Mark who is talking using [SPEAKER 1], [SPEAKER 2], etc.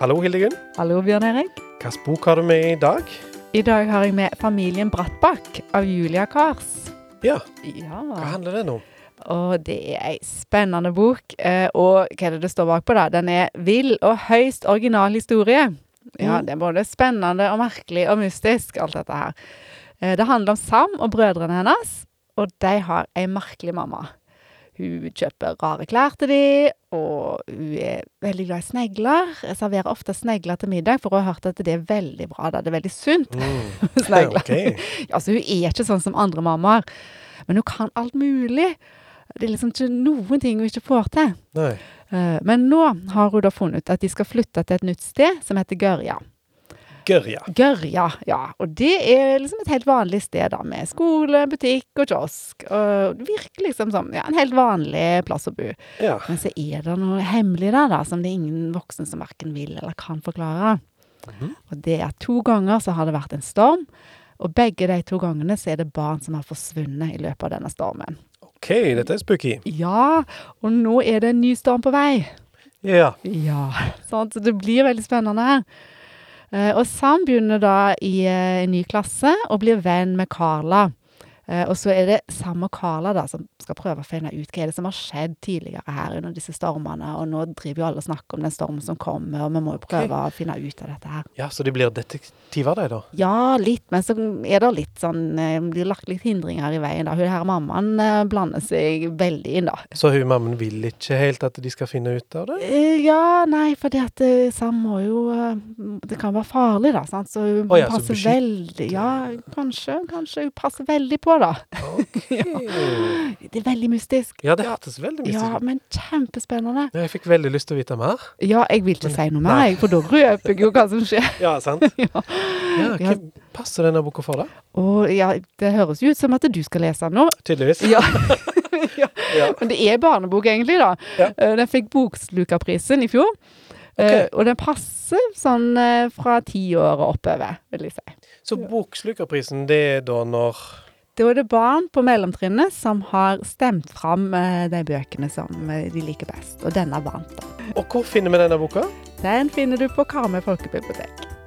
[SPEAKER 1] Hallo, Hildegunn.
[SPEAKER 2] Hallo, Bjørn Erik.
[SPEAKER 1] Hvilken bok har du med i dag?
[SPEAKER 2] I dag har jeg med 'Familien Brattbakk' av Julia Kars.
[SPEAKER 1] Ja, hva
[SPEAKER 2] Ja,
[SPEAKER 1] handler den om?
[SPEAKER 2] og det er ei spennende bok. eh, Og hva er det det står bakpå, da? Den er vill og høyst original historie. Ja,
[SPEAKER 1] Mm.
[SPEAKER 2] det er både spennende og merkelig og mystisk, alt dette her. Eh, Det handler om Sam og brødrene hennes, og de har ei merkelig mamma. Hun kjøper rare klær til de, og hun er veldig glad i snegler. Jeg serverer ofte snegler til middag, for hun har hørt at det er veldig bra. da. Det er veldig sunt.
[SPEAKER 1] Mm.
[SPEAKER 2] Snegler.
[SPEAKER 1] Ok.
[SPEAKER 2] Altså, hun er ikke sånn som andre mammaer, men hun kan alt mulig. Det er liksom ikke noen ting hun ikke får til.
[SPEAKER 1] Nei.
[SPEAKER 2] Eh, Men nå har hun da funnet ut at de skal flytte til et nytt sted som heter Gørja.
[SPEAKER 1] Gørja.
[SPEAKER 2] Gørja, ja. Og det er liksom et helt vanlig sted da, med skole, butikk og kiosk. Og det virker liksom som ja, en helt vanlig plass å bo.
[SPEAKER 1] Ja.
[SPEAKER 2] Men så er det noe hemmelig der, da, som det er ingen voksne som verken vil eller kan forklare.
[SPEAKER 1] Mhm.
[SPEAKER 2] Og det er to ganger så har det vært en storm, og begge de to gangene så er det barn som har forsvunnet i løpet av denne stormen.
[SPEAKER 1] Ok, dette er spooky.
[SPEAKER 2] Ja, og nå er det en ny storm på vei.
[SPEAKER 1] Ja.
[SPEAKER 2] Ja, sant? Sånn, så det blir veldig spennende her. Eh, Og Sam begynner da i eh, en ny klasse og blir venn med Carla. Eh, Og så er det Sam og Carla da som skal prøve å finne ut hva er det som har skjedd tidligere her under disse stormene. Og nå driver jo alle og snakker om den stormen som kommer, og vi må jo prøve å finne ut av dette her.
[SPEAKER 1] ja, så de blir detektiver, de, da?
[SPEAKER 2] Ja, litt, men så er det litt sånn eh, Blir lagt litt hindringer i veien, da. Hun her mammaen eh, blander seg veldig inn, da.
[SPEAKER 1] Så hun mammen vil ikke helt at de skal finne ut av det?
[SPEAKER 2] Eh, Ja, nei, for det at eh, Sam må jo eh, Det kan være farlig, da. Sant? Så hun
[SPEAKER 1] Å ja, så
[SPEAKER 2] passer
[SPEAKER 1] beskytt-
[SPEAKER 2] veldig Ja, kanskje. Kanskje hun passer veldig på, da.
[SPEAKER 1] Ok.
[SPEAKER 2] Det er veldig mystisk.
[SPEAKER 1] Ja, det hørtes veldig
[SPEAKER 2] Ja,
[SPEAKER 1] mystisk ut.
[SPEAKER 2] men kjempespennende.
[SPEAKER 1] Ja, jeg fikk veldig lyst til å vite mer.
[SPEAKER 2] Ja, jeg vil ikke
[SPEAKER 1] Men-
[SPEAKER 2] si noe mer,
[SPEAKER 1] nei.
[SPEAKER 2] jeg, for da røper jeg jo hva som skjer.
[SPEAKER 1] Ja, sant?
[SPEAKER 2] Ja.
[SPEAKER 1] Ja,
[SPEAKER 2] Ja.
[SPEAKER 1] Hvem passer denne boka for, da?
[SPEAKER 2] Og ja, det høres jo ut som at du skal lese den nå.
[SPEAKER 1] Tydeligvis.
[SPEAKER 2] Ja. ja.
[SPEAKER 1] Ja.
[SPEAKER 2] Men det er barnebok, egentlig, da.
[SPEAKER 1] Ja.
[SPEAKER 2] Eh, Den fikk Bokslukerprisen i fjor. Eh, Og den passer sånn eh, fra ti år og oppover, vil jeg si.
[SPEAKER 1] Så Bokslukerprisen, det er da når
[SPEAKER 2] Da er det barn på mellomtrinnet som har stemt fram eh, de bøkene som eh, de liker best, og denne vant. da.
[SPEAKER 1] Og hvor finner vi denne boka?
[SPEAKER 2] Den finner du på Karmøy folkebibliotek.